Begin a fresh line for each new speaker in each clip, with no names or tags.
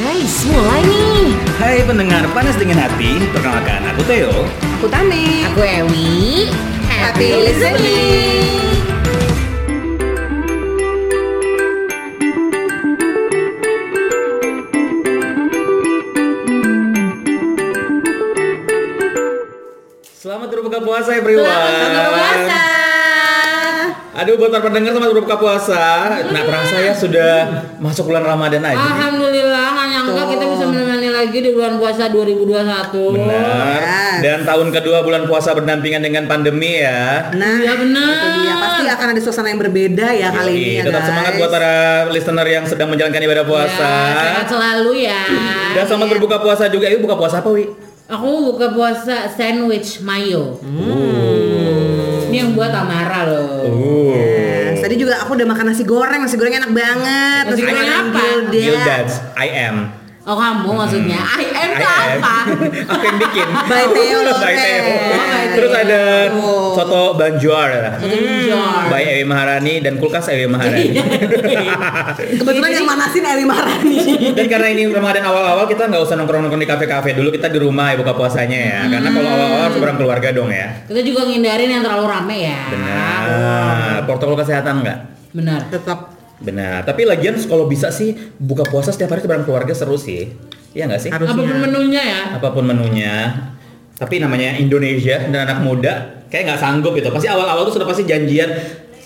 Guys, mulai nih.
Hai pendengar panas dingin hati, perkenalkan aku Theo.
Aku Tami.
Aku Ewi.
Happy listening.
Selamat berbuka puasa everyone.
Selamat puasa.
Aduh buat para pendengar selamat berbuka puasa. Nah terasa ya sudah masuk bulan Ramadan aja.
Alhamdulillah, nggak nyangka kita bisa menemani lagi di bulan puasa 2021.
Benar.
Yes.
Dan tahun kedua bulan puasa berdampingan dengan pandemi ya.
Nah,
Iya benar.
itu dia. Pasti akan ada suasana yang berbeda ya kali ini
Yoi,
ya
Iya, Tetap
guys.
semangat buat para listener yang sedang menjalankan ibadah puasa.
Ya, sehat selalu ya.
Dan selamat berbuka puasa juga. Ibu buka puasa apa, Wi?
Aku buka puasa sandwich mayo.
Hmm.
Ini yang buat Amara loh.
Yes. Tadi juga aku udah makan nasi goreng, nasi goreng enak banget.
Nasi goreng apa?
Gildan.
Gildats, I am.
Oh kamu maksudnya I am itu
Hmm. I am.
apa?
Iya. Aku yang bikin.
By Theo Lopez.
By Theo.
By
Terus ada
Theo.
soto banjuara.
Jar.
By Ewi Maharani dan kulkas Ewi Maharani.
Iya, Kebetulan
Iya,
yang manasin Eli Marani.
dan karena ini Ramadan awal-awal kita nggak usah nongkrong-nongkrong di kafe-kafe dulu kita di rumah ya buka puasanya ya. Karena kalau
Hmm.
awal-awal harus bareng keluarga dong ya.
Kita juga ngindarin yang terlalu rame ya.
Benar. Nah, Protokol kesehatan nggak?
Benar.
Tetap
Benar. Tapi lagian kalau bisa sih buka puasa setiap hari bareng keluarga seru sih. Iya nggak sih?
harusnya.
Apapun menunya ya.
apapun menunya tapi namanya Indonesia dan anak muda kayak nggak sanggup gitu pasti awal-awal tuh sudah pasti janjian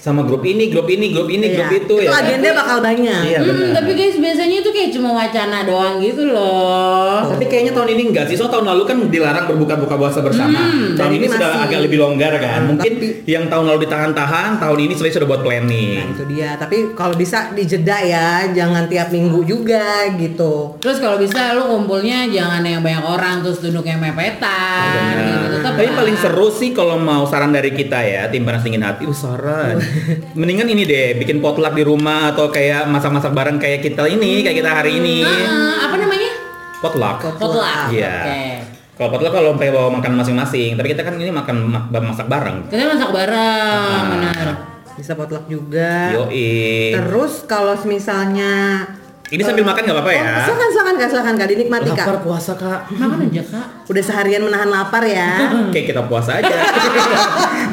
sama grup ini grup ini grup ini grup
Iya.
itu ya kan?
agenda bakal banyak.
iya
Hmm,
benar
tapi guys biasanya itu kayak cuma wacana doang gitu loh.
tapi kayaknya tahun ini enggak sih, so tahun lalu kan dilarang berbuka-buka puasa bersama. tahun
tapi
ini sudah
masih-
agak lebih longgar kan. Mungkin
Tapi-
yang tahun lalu ditahan-tahan, tahun ini sebenarnya sudah buat
Nah,
planning.
itu dia. Tapi kalau bisa dijeda ya, jangan tiap minggu juga gitu.
Terus kalau bisa lu kumpulnya jangan yang banyak orang terus duduknya mepetan
Iya,
gitu tetap
Oh, Iya. Tapi
lah.
paling seru sih kalau mau saran dari kita ya, tim panas dingin hati. Uh, saran. Mendingan ini deh, bikin potluck di rumah atau kayak masak-masak bareng kayak kita ini, kayak kita hari ini.
Hmm.
Heeh, Eh, apa namanya?
Potluck.
Potluck.
Iya.
Oke.
Kalau potluck kalau sampai bawa makan masing-masing, tapi kita kan ini makan mak- masak bareng.
Kita masak bareng,
Ah.
benar.
Bisa potluck juga.
Yoi.
Nah, Terus kalau misalnya
Ini sambil makan nggak apa-apa ya?
Oh, silakan silakan kak, silakan kak, dinikmati kak.
Lapar puasa kak.
Makan aja, Kak.
Udah seharian menahan lapar ya.
Oke kita puasa aja.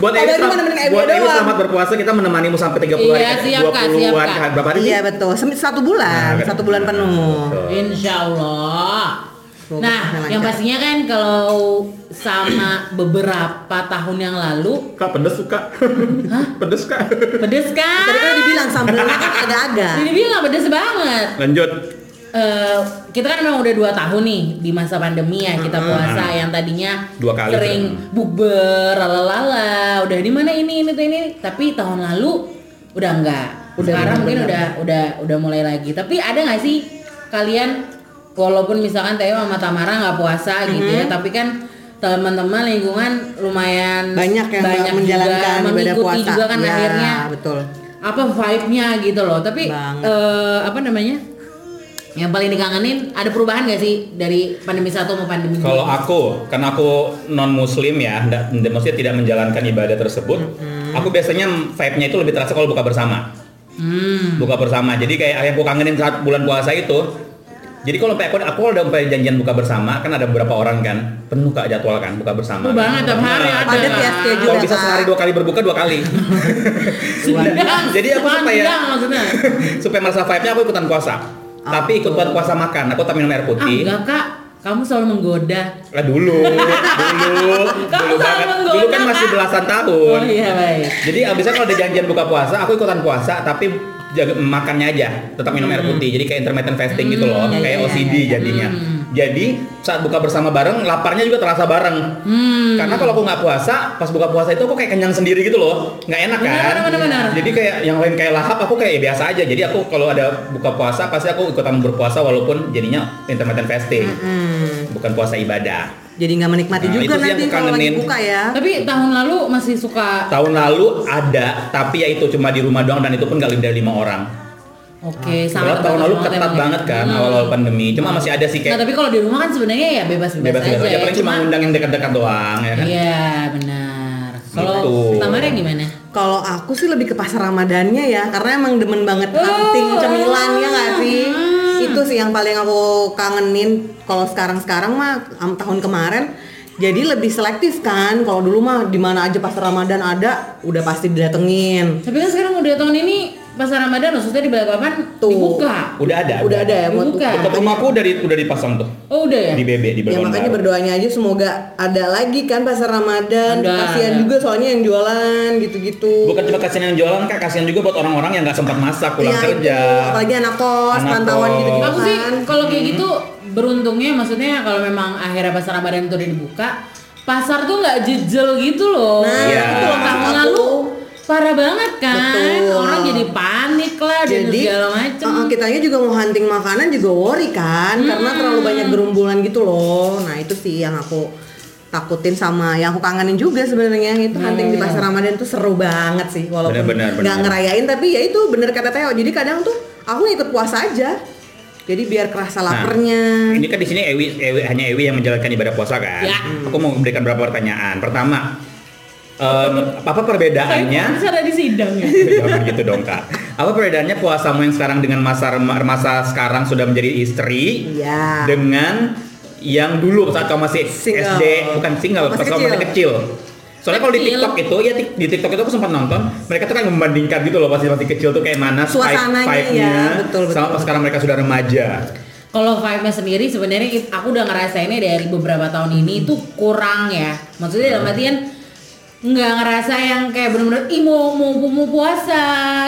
buat
Padahal
Ewi,
cuma nemenin Ewi
buat Ewi
doang.
selamat berpuasa kita menemanimu sampai 30 hari,
Iya, siap, Kak,
20-an,
siap, Kak.
berapa hari? sih?
iya betul, Sem- satu bulan,
Nah,
satu bulan penuh.
betul.
Insya Allah.
Semoga
Nah,
lancar.
yang pastinya kan kalau sama beberapa tahun yang lalu
Kak pedes suka. pedes kak.
pedes
Tadi kan
kan?
dibilang sambelnya kan ada-ada.
Jadi bilang pedes banget.
Lanjut.
Eh, kita kan memang udah dua tahun nih di masa pandemi ya kita puasa yang tadinya
Dua kali
sering bukber lalala udah di mana ini ini tuh, ini tapi tahun lalu udah enggak sekarang mungkin udah udah udah mulai lagi tapi ada nggak sih kalian walaupun misalkan Teo sama Tamara nggak puasa gitu ya tapi kan teman-teman lingkungan lumayan
Banyak yang nggak
juga
menjalankan ibadah
mengikuti
puasa.
juga kan
Ya,
akhirnya
betul.
apa vibe-nya gitu loh tapi
Banget.
eh, apa namanya yang paling dikangenin ada perubahan gak sih dari pandemi satu mau pandemi dua?
Kalau aku, karena aku non Muslim ya, ndak- ndak- maksudnya tidak menjalankan ibadah tersebut, aku biasanya vibe-nya itu lebih terasa kalau buka bersama.
hmm.
Buka bersama. Jadi kayak yang aku kangenin saat bulan puasa itu. Jadi kalau sampai aku, aku udah sampai janjian buka bersama, kan ada beberapa orang kan, penuh kak jadwal kan buka bersama.
Perubahan tiap hari
Nah,
ada.
Padat ya schedule
Kalau
ya,
bisa
Kak.
sehari dua kali berbuka dua kali.
Sedang,
Jadi aku
ya?
sedang,
supaya-
sedang maksudnya.
supaya merasa vibe-nya aku ikutan puasa.
Oh.
Tapi ikut buat puasa makan, aku tak minum air
Ah,
putih.
enggak kak, kamu selalu menggoda.
Lah Eh, dulu, dulu,
Kamu
dulu
salah
banget.
menggoda,
Dulu kan masih
Kak.
belasan tahun.
Oh iya baik.
Jadi abisnya kalau ada janjian buka puasa, aku ikutan puasa tapi jaga makannya aja, tetap minum air
Hmm.
putih. Jadi kayak intermittent fasting gitu loh,
iya,
kayak
iya,
OCD
iya, iya.
jadinya. Jadi saat buka bersama bareng, laparnya juga terasa bareng.
Hmm.
Karena kalau aku nggak puasa, pas buka puasa itu aku kayak kenyang sendiri gitu loh, nggak enak kan?
Benar, benar, benar.
Jadi kayak yang lain kayak lahap, aku kayak ya biasa aja. Jadi aku kalau ada buka puasa pasti aku ikutan berpuasa walaupun jadinya intermittent fasting,
Hmm,
bukan puasa ibadah.
jadi nggak menikmati
Nah,
juga
itu sih yang
nanti
aku
kalau lagi
kangenin.
buka ya.
Tapi tahun lalu masih suka.
Tahun lalu ada, tapi ya itu cuma di rumah doang dan itu pun nggak lebih dari lima orang.
Oke, sangat
Soalnya
terbatas
tahun lalu
banget
ketat
emang ya.
banget kan
Hmm.
awal-awal pandemi. Cuma masih ada sih
Nah,
kayak
tapi kalau di rumah kan sebenarnya ya bebas-bebas
bebas
aja.
bebas aja.
ya.
Paling cuma undang yang dekat-dekat doang ya kan.
Iya, benar. Kalau
Gitu.
Tamara gimana?
Kalau aku sih lebih Oh. ke pasar Ramadannya ya, karena emang demen banget hunting cemilan ya nggak sih? Itu sih yang paling aku kangenin kalau sekarang-sekarang mah am- tahun kemarin jadi lebih selektif kan. Kalau dulu mah di mana aja pas Ramadan ada udah pasti didatengin.
Tapi kan sekarang udah tahun ini pasar Ramadan khususnya di Balikpapan
Tuh.
dibuka.
Udah ada.
Udah ada ya buat
Bukan.
Tetap rumahku udah di- udah dipasang tuh
Oh udah ya.
di BB di
Ya
Balkon
makanya
Baru.
berdoanya aja semoga ada lagi kan pasar Ramadan.
Ada,
Kasihan
ada.
juga soalnya yang jualan gitu-gitu.
Bukan cuma kasihan yang jualan kak, kasihan juga buat orang-orang yang nggak sempat masak pulang
Iya,
kerja.
itu. Apalagi anak kos,
Anak
pantauan
kos.
gitu-gitu
Aku sih
kan.
kalau kayak gitu beruntungnya maksudnya kalau memang akhirnya pasar Ramadan itu udah dibuka, pasar tuh nggak jejel gitu loh.
Nah,
Iya. itu loh
tahun
maksud
lalu
aku.
parah banget kan.
Betul.
Orang jadi panik lah dan
Jadi
segala macem.
uh-uh, kitanya juga mau hunting makanan juga worry kan karena
Hmm.
terlalu banyak gerombolan gitu loh. Nah, itu sih yang aku takutin sama yang aku kangenin juga sebenarnya itu hunting di pasar Ramadan tuh seru banget sih walaupun
Nah, iya. Benar, benar,
nggak
benar.
ngerayain tapi ya itu bener kata Teo. Jadi kadang tuh aku ikut puasa aja. Jadi biar kerasa
Nah,
lapernya.
Ini kan di sini Ewi, Ewi hanya Ewi yang menjalankan ibadah puasa kan.
Ya.
Iya.
Aku mau memberikan beberapa pertanyaan. Pertama, em, apa perbedaannya?
Saya ada di sidang ya.
Jangan gitu dong kak. Apa perbedaannya puasamu yang sekarang dengan masa rem- masa sekarang sudah menjadi istri
Iya.
dengan yang dulu saat kamu masih
Single.
SD bukan single,
Masih
pas kamu
kecil.
masih kecil. Soalnya kalau di
Kecil.
TikTok itu ya tik- di TikTok itu aku sempat nonton, mereka tuh kayak membandingkan gitu loh pas masih kecil tuh kayak mana spike-
Suasananya,
spike-nya
ya, betul, betul.
sama pas sekarang mereka sudah remaja.
Kalau vibe-nya sendiri sebenarnya it- aku udah ngerasainnya dari beberapa tahun ini itu kurang ya. Maksudnya dalam artian nggak ngerasa yang kayak bener-bener "Ih, mau mau mau puasa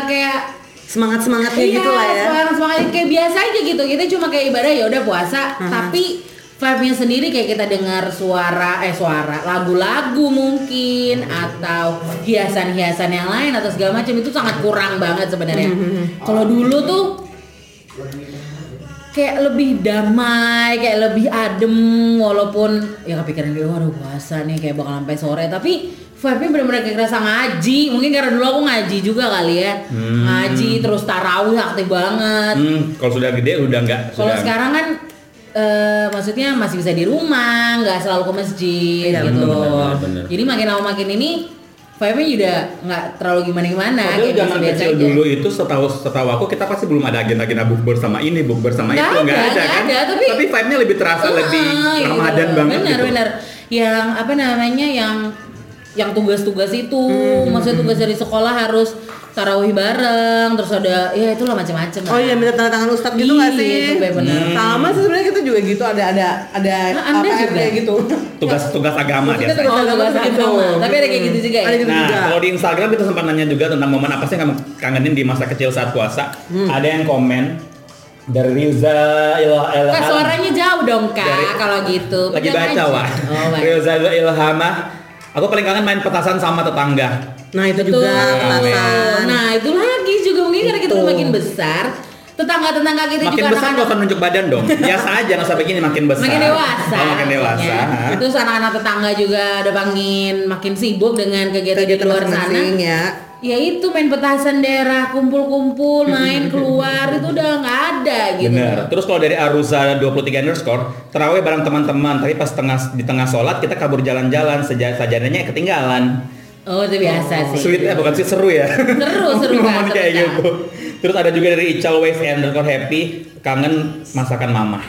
kayak
Semangat-semangatnya gitu lah ya.
Iya, semangat semangat kayak biasa aja gitu. Kita cuma kayak ibadah ya udah puasa, tapi vibe-nya sendiri kayak kita dengar suara eh suara lagu-lagu mungkin atau hiasan-hiasan yang lain atau segala macam itu sangat kurang banget sebenarnya. Kalau dulu tuh kayak lebih damai, kayak lebih adem walaupun ya kepikiran gue waduh puasa nih kayak bakal sampai sore tapi vibe-nya bener-bener kayak kerasa ngaji mungkin karena dulu aku ngaji juga kali ya
Hmm.
ngaji terus tarawih aktif banget
Hmm, kalau sudah gede udah nggak
kalau
sudah.
sekarang kan eh, maksudnya masih bisa di rumah nggak selalu ke masjid
Iya,
gitu
bener,
loh
bener, bener.
jadi makin lama makin ini vibe-nya juga nggak terlalu gimana-gimana
Padahal
kayak
zaman
biasa-biasa
kecil
Nah, aja.
dulu itu setahu setahu aku kita pasti belum ada agenda-agenda bukber sama ini bukber sama
Nggak
itu nggak
ada,
ada,
nggak
kan?
ada, tapi-
vibe-nya lebih terasa
Heeh,
lebih
gitu.
Ramadan banget
bener,
gitu.
Bener Yang apa namanya yang yang tugas-tugas itu,
Hmm,
maksudnya tugas dari sekolah harus tarawih bareng, terus ada ya itulah macam-macam.
Oh iya minta tanda tangan ustadz gitu
Iya,
nggak sih?
itu bener.
Hmm.
Sama sih sebenarnya kita juga gitu ada ada ada
Nah, Anda
APR
juga?
kayak gitu.
Tugas-tugas agama
Maksudnya
Oh,
biasanya.
agama
tugas
tuh begitu.
agama. Tapi ada kayak gitu juga ya?
Ada gitu
Nah,
juga.
kalau di Instagram kita sempat nanya juga tentang momen apa sih yang kamu kangenin di masa kecil saat puasa.
Hmm.
Ada yang komen dari Riza Ilah
Kak,
Ilham.
suaranya jauh dong kak
Dari-
kalau gitu.
Lagi
Pegang
baca,
aja.
Wak.
Oh, baik.
Riza Ilhamah. Aku paling kangen main petasan sama tetangga.
Nah itu
Betul.
juga
Kan?
petasan.
Nah itu lagi juga mungkin karena kita
Betul.
udah makin besar, tetangga-tetangga kita
Gitu.
juga
Makin besar nggak
anak-anak
usah nunjuk badan dong. Biasa aja nggak usah begini makin besar.
Makin dewasa. Iya.
Oh, makin dewasa.
maksudnya. Terus anak-anak tetangga juga udah makin makin sibuk dengan kegiatan di
Kegiatan
luar sana.
masing-masing ya.
Ya itu main petasan daerah, kumpul-kumpul, main keluar itu udah nggak ada gitu.
Bener. Terus kalau dari Arusa 23 underscore, terawih bareng teman-teman, tapi pas tengah di tengah sholat kita kabur jalan-jalan, seja, sajadannya ketinggalan.
Oh itu biasa sih.
Sweet eh bukan sweet seru ya.
Seru, seru, Kak,
Momen
seru,
kayak
Kak.
gitu. Terus ada juga dari Ical Ways underscore happy, kangen masakan mama.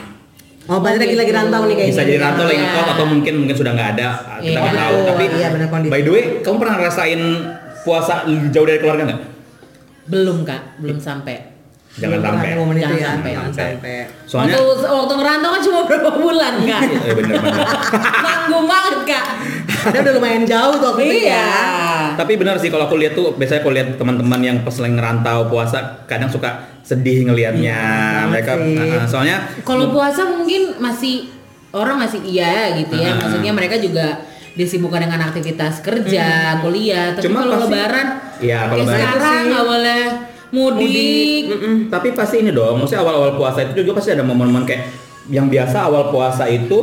Oh berarti lagi lagi rantau nih kayaknya. Oh,
Bisa jadi rantau lagi
Iya.
ngekos atau mungkin mungkin sudah nggak ada, kita
Iya.
nggak tahu.
Betul,
Tapi
iya, benar kondisi.
by the way, kamu pernah ngerasain puasa jauh dari keluarga nggak?
Belum kak, belum sampai.
Jangan
Jangan
sampai.
sampai. Momen itu
Jangan
ya.
sampai,
Jangan
jangan
sampai.
Soalnya
waktu, waktu ngerantau kan cuma berapa bulan kak.
eh, bener-bener.
Nanggung banget kak.
Ada udah lumayan jauh tuh
Oh,
aku tuh
Iya.
ya.
Tapi benar sih kalau aku lihat tuh biasanya aku lihat teman-teman yang pas lagi ngerantau puasa kadang suka sedih ngelihatnya
banget
mereka
sih.
uh, uh, soalnya
Iya, Kalau puasa mungkin masih orang masih iya gitu ya.
Ah.
Maksudnya mereka juga disibukkan dengan aktivitas kerja, kuliah. Tapi
Cuma
kalau
pasti-
lebaran,
Iya, kalau
kayak
lebaran.
sekarang nggak boleh mudik.
Mm, tapi pasti ini dong maksudnya awal-awal puasa itu juga pasti ada momen-momen kayak yang biasa awal puasa itu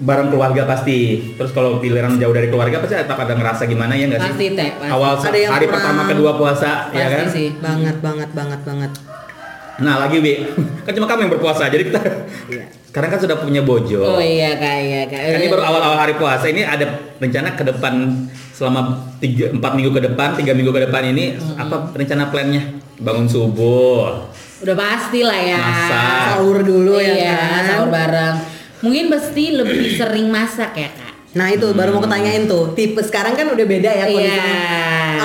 bareng keluarga pasti terus kalau giliran jauh dari keluarga pasti tetap ada ngerasa gimana ya nggak sih
Pasti, Teh, pasti.
awal
Ada yang
hari
kurang.
pertama kedua puasa ya
Pasti
kan
sih.
Banget banget banget banget.
nah lagi Wi kan cuma kamu yang berpuasa jadi kita
Iya.
sekarang kan sudah punya bojo
Oh iya kak, iya kak.
Kan ini baru awal-awal hari puasa ini ada rencana ke depan selama tiga empat minggu ke depan tiga minggu ke depan ini apa rencana plannya bangun subuh
Udah pasti lah ya.
Masak.
Sahur dulu ya
Iya,
kan?
sahur bareng. Mungkin pasti lebih sering masak ya kak.
Nah itu baru mau ketanyain tuh tipe sekarang kan udah beda
Iya.
ya kondisinya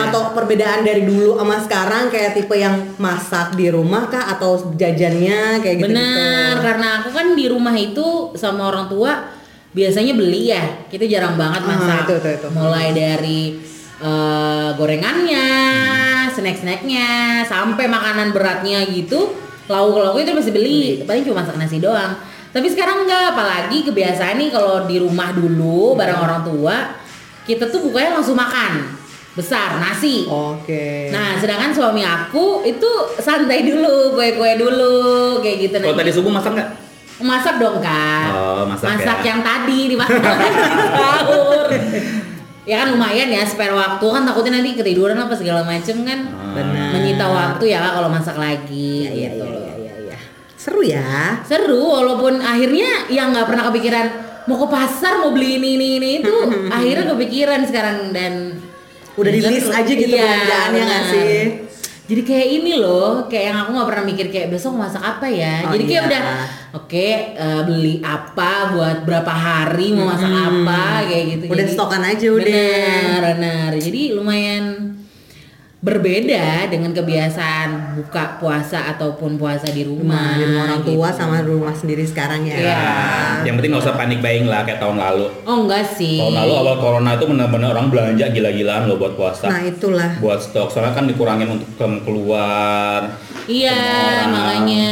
atau perbedaan dari dulu sama sekarang kayak tipe yang masak di rumah kah atau jajannya kayak gitu
Bener, karena aku kan di rumah itu sama orang tua biasanya beli ya. Kita jarang banget
Ah,
masak.
itu, itu, itu.
Mulai dari eh, gorengannya, snack-snacknya, sampai makanan beratnya gitu. Lauk-lauknya itu masih beli, paling cuma masak nasi doang. Tapi sekarang enggak, apalagi kebiasaan nih kalau di rumah
Iya.
dulu bareng orang tua, kita tuh bukanya langsung makan. Besar, nasi.
Oke.
Nah, sedangkan suami aku itu santai dulu, kue-kue dulu, kayak gitu. Nah,
Kalau Oh, tadi subuh masak nggak?
masak dong kak.
Oh, masak ya.
yang tadi dimasak sahur. ya kan lumayan ya spare waktu kan takutnya nanti ketiduran apa segala macem kan
Ah.
Benar.
menyita waktu ya Kak, kalau masak lagi
Iya,
gitu
iya,
loh.
iya, iya, iya. Seru ya.
Seru walaupun akhirnya yang nggak pernah kepikiran mau ke pasar mau beli ini ini ini itu akhirnya kepikiran sekarang dan
Udah di list aja gitu
Iya,
belanjaannya nggak
benar.
sih?
Jadi kayak ini loh, kayak yang aku nggak pernah mikir kayak besok mau masak apa ya.
Oh,
Jadi kayak
iya.
udah oke eh, beli apa buat berapa hari mau masak apa kayak gitu.
Hmm. Udah
Jadi-
stokan aja udah.
Benar, benar. Jadi lumayan berbeda dengan kebiasaan buka puasa ataupun puasa di rumah.
Rumah, di rumah orang
gitu.
tua sama rumah sendiri sekarang ya.
Iya.
Nah, Yang penting nggak usah panik buying lah kayak tahun lalu.
Oh enggak sih.
Tahun lalu awal corona itu benar-benar orang belanja gila-gilaan loh buat
iya.
puasa.
Nah itulah.
buat stok soalnya kan dikurangin untuk ke- keluar.
Iya,
Semua orang.
makanya.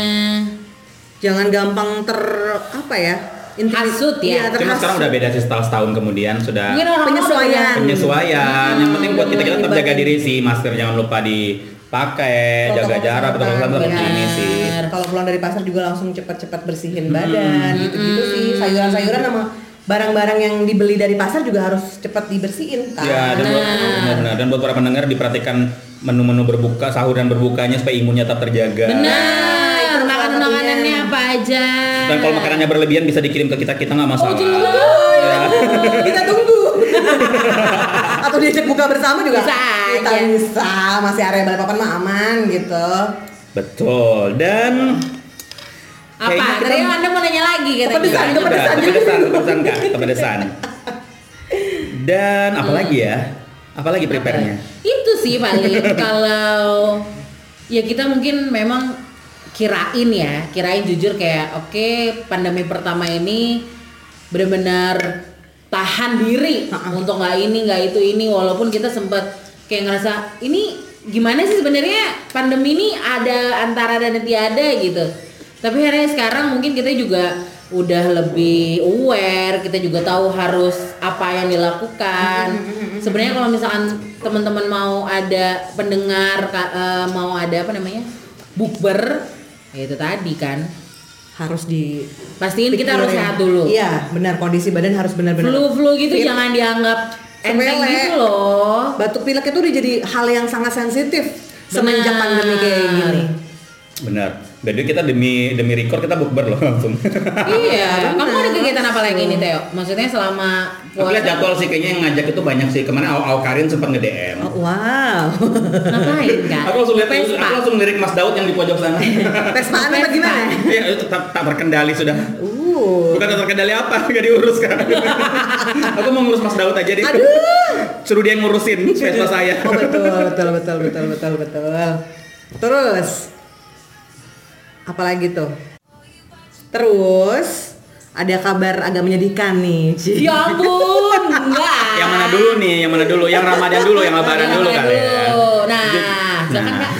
Jangan gampang ter apa ya? intimi-
Hasut ya.
Iya,
Cuma sekarang
terhasut.
udah beda sih setahun setahun kemudian sudah
Mungkin orang
Penyesuaian.
penyesuaian.
Ah,
Yang penting buat kita kita tetap jaga
Ibadah.
diri sih, masker jangan lupa dipakai, jaga
Protokol
jarak, protokol
kesehatan, Iya,
kesehatan tetap ini sih. Hmm.
benar.
Kalau pulang dari pasar juga langsung cepat-cepat bersihin badan gitu-gitu sih.
Hmm.
Sayuran-sayuran sama barang-barang yang dibeli dari pasar juga harus cepat dibersihin kan.
Ya, dan buat, benar-benar. dan buat para pendengar diperhatikan menu-menu berbuka, sahur dan berbukanya supaya imunnya tetap terjaga.
itu
Benar,
salah
makanan-makanannya
satunya.
apa aja.
Dan kalau makanannya berlebihan bisa dikirim ke kita, kita nggak
Oh,
masalah.
kita tunggu atau diajak buka bersama juga
Bisa
kita
aja.
bisa masih area Balikpapan mah aman gitu
Betul. Dan
Apa?
Kayaknya
Tadi Anda mau nanya lagi
Kepedesan,
katanya.
kepedesan.
Udah, kepedesan, kepedesan kak, kepedesan. Dan apalagi ya? Apalagi prepare-nya?
Itu sih paling kalau ya kita mungkin memang kirain ya, kirain jujur kayak oke pandemi pertama ini benar-benar tahan diri untuk nggak ini nggak itu ini walaupun kita sempat kayak ngerasa ini gimana sih sebenarnya pandemi ini ada antara dan tiada gitu. Tapi akhirnya sekarang mungkin kita juga udah lebih aware, kita juga tahu harus apa yang dilakukan. Sebenarnya kalau misalkan teman-teman mau ada pendengar ka- eh, mau ada apa namanya? bukber ya itu tadi kan.
harus di
Pastiin kita harus sehat dulu.
iya benar kondisi badan harus benar-benar
Flu-flu gitu jangan dianggap enteng
Sepele.
gitu loh.
batuk pilek itu udah jadi hal yang sangat sensitif semenjak
Benar.
pandemi kayak gini
Benar. Jadi kita demi demi record kita bukber loh langsung.
iya, kamu ada kegiatan apa lagi nih Teo? Maksudnya selama
Aku lihat jadwal sih kayaknya yang ngajak itu banyak sih. Kemarin Al, Karin sempat nge-DM.
Oh, wow
ngapain kan?
Aku langsung lihat aku
Vespa.
langsung lirik Mas Daud yang di pojok sana.
Pespaan apa
Pesta.
gimana
Iya, itu tak, tak terkendali sudah.
uh
Bukan tak terkendali apa, gak diurus kan. aku mau ngurus Mas Daud aja deh. Suruh dia yang ngurusin Vespa saya.
oh betul betul betul betul betul betul terus apalagi tuh terus ada kabar agak menyedihkan nih Ci.
Ya ampun, enggak.
Yang mana dulu nih? Yang mana dulu? Yang Ramadan dulu, yang Lebaran
Yang
dulu
mana
kali ya.
dulu. Nah, silakan,
nah.
Kak.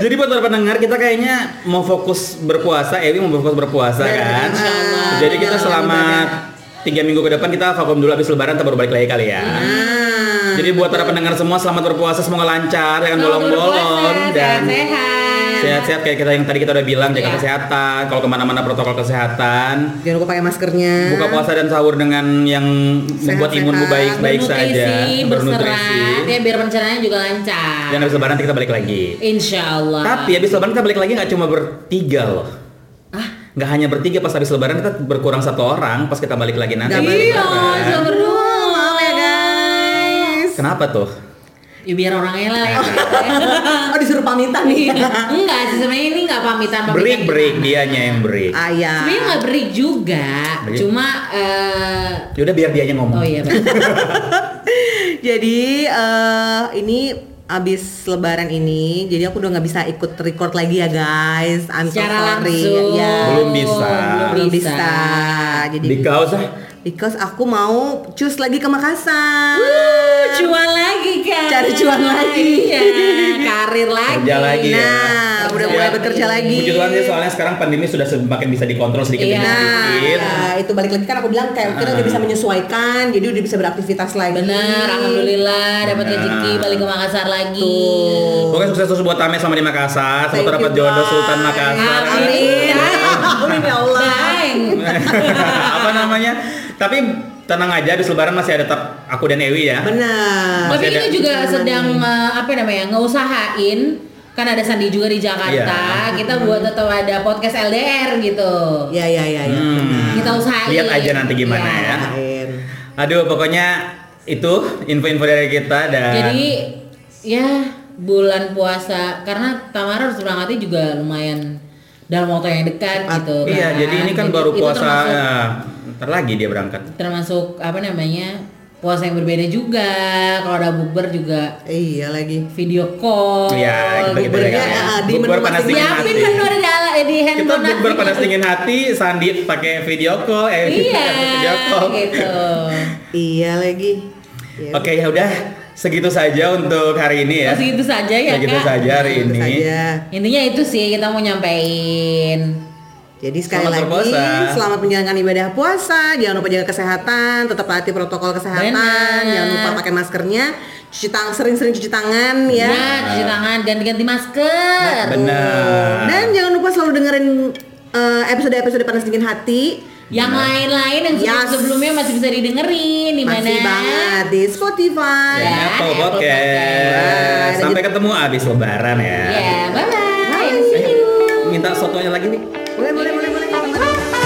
Jadi buat para pendengar kita kayaknya mau fokus berpuasa, Ewi mau fokus berpuasa
Iya,
kan.
Insyaallah.
Jadi kita
Jalan
selama tiga minggu ke depan kita vakum dulu habis lebaran kita baru balik lagi kali
Iya.
ya.
Ah,
Jadi buat para pendengar semua selamat berpuasa semoga lancar jangan
Selamat
kan bolong-bolong
berpuasa,
dan
sehat-sehat.
sehat-sehat kayak kita yang tadi kita udah bilang jaga
Iya.
kesehatan kalau kemana-mana protokol kesehatan
jangan lupa pakai maskernya
Hmm.
buka puasa dan sahur dengan yang membuat
Sehat-sehat.
imunmu baik-baik saja
Bernutrisi, berserat, ya biar pencerahannya juga lancar.
dan habis lebaran kita balik lagi.
Insya Allah.
Tapi ya, habis lebaran kita balik lagi nggak cuma bertiga loh.
Ah?
Nggak hanya bertiga pas habis lebaran kita berkurang satu orang pas kita balik
Iya,
lagi nanti.
Nggak
habis
iya,
lebaran.
cuma berdua.
maaf ya guys
Kenapa tuh?
ya biar orangnya lah ya.
Nah.
Oh disuruh pamitan nih.
enggak sih sebenarnya ini enggak pamitan pamitan
break
kan
break dianya yang break
Ayah.
sebenarnya nggak break juga
Break.
cuma eh,
yaudah biar dianya ngomong
oh iya benar.
Jadi eh ini abis lebaran ini, jadi aku udah nggak bisa ikut record lagi ya guys. I'm so
secara
sorry.
langsung
Ya,
Belum bisa.
belum bisa. Jadi
di kaos ah
because aku mau cus lagi ke Makassar.
Wuh, cuan lagi kan
Cari cuan lagi.
Iya, karir lagi
Kerja lagi ya.
Nah, udah mulai bekerja lagi.
Puji Tuhan sih soalnya sekarang pandemi sudah semakin bisa dikontrol sedikit
Iya.
demi
Nah,
sedikit.
ya, itu balik lagi kan aku bilang kayak kita udah bisa menyesuaikan, jadi udah bisa beraktivitas lagi.
bener Nah,
Hmm.
alhamdulillah dapat
Bener.
rezeki balik ke Makassar lagi
Pokoknya sukses terus buat Tame sama di Makassar.
Thank
Semoga dapat
you,
jodoh
bye.
Sultan Makassar.
Amin. Amin ya Allah.
Bang.
Apa namanya? Tapi tenang aja di Lebaran masih ada tetap aku dan Ewi ya.
Benar.
Tapi
Masih
ini
ada-
juga sedang eh, apa namanya ngeusahain kan ada Sandi juga di Jakarta
Iya.
kita buat tetap ada podcast LDR gitu
Ya ya ya ya.
Hmm.
Kita usahain.
Lihat aja nanti gimana
Iya.
ya.
Lain.
Aduh, pokoknya itu info-info dari kita dan
jadi ya bulan puasa karena Tamara harus berangkatnya juga lumayan dalam waktu yang dekat
Ah,
gitu
iya, jadi ini kan baru
itu
puasa.
termasuk,
ya, Ntar lagi dia berangkat.
termasuk apa namanya puasa yang berbeda juga kalau ada bukber juga
Iya lagi.
video call
Iya,
bukbernya.
kita gitu ya.
bukbernya, ah, di
Bukber
menu
panas
masing-masing.
dingin
Siapin kan
hati.
menu di ala- eh, di
Kita
handphone
bukber
nanti. gitu.
panas dingin hati, Sandi pakai video call, eh
Iya,
video call.
gitu.
Iya lagi. Ya.
Oke, ya udah segitu saja untuk hari ini ya.
Masih itu saja ya
segitu
kak.
saja hari
Tentu
ini.
saja.
Intinya itu sih kita mau nyampein.
Jadi sekali
Selamat
lagi
berpuasa.
selamat menjalankan ibadah puasa, jangan lupa jaga kesehatan, tetap taati protokol kesehatan,
Benar.
jangan lupa pakai maskernya, cuci tangan sering-sering cuci tangan
Ya,
ya.
cuci tangan, ganti-ganti masker.
Benar.
Dan jangan lupa selalu dengerin eh, episode-episode panas dingin hati.
Yang lain-lain yang
Iya. Yes.
sebelumnya masih bisa didengerin di mana?
Masih banget di
Dan
Spotify.
Ya,
Iya, Apple
Apple
Podcast.
Iya, Podcast.
Sampai ketemu abis lebaran ya.
Ya, bye bye.
Minta sotonya lagi nih.
Boleh, boleh, boleh, boleh.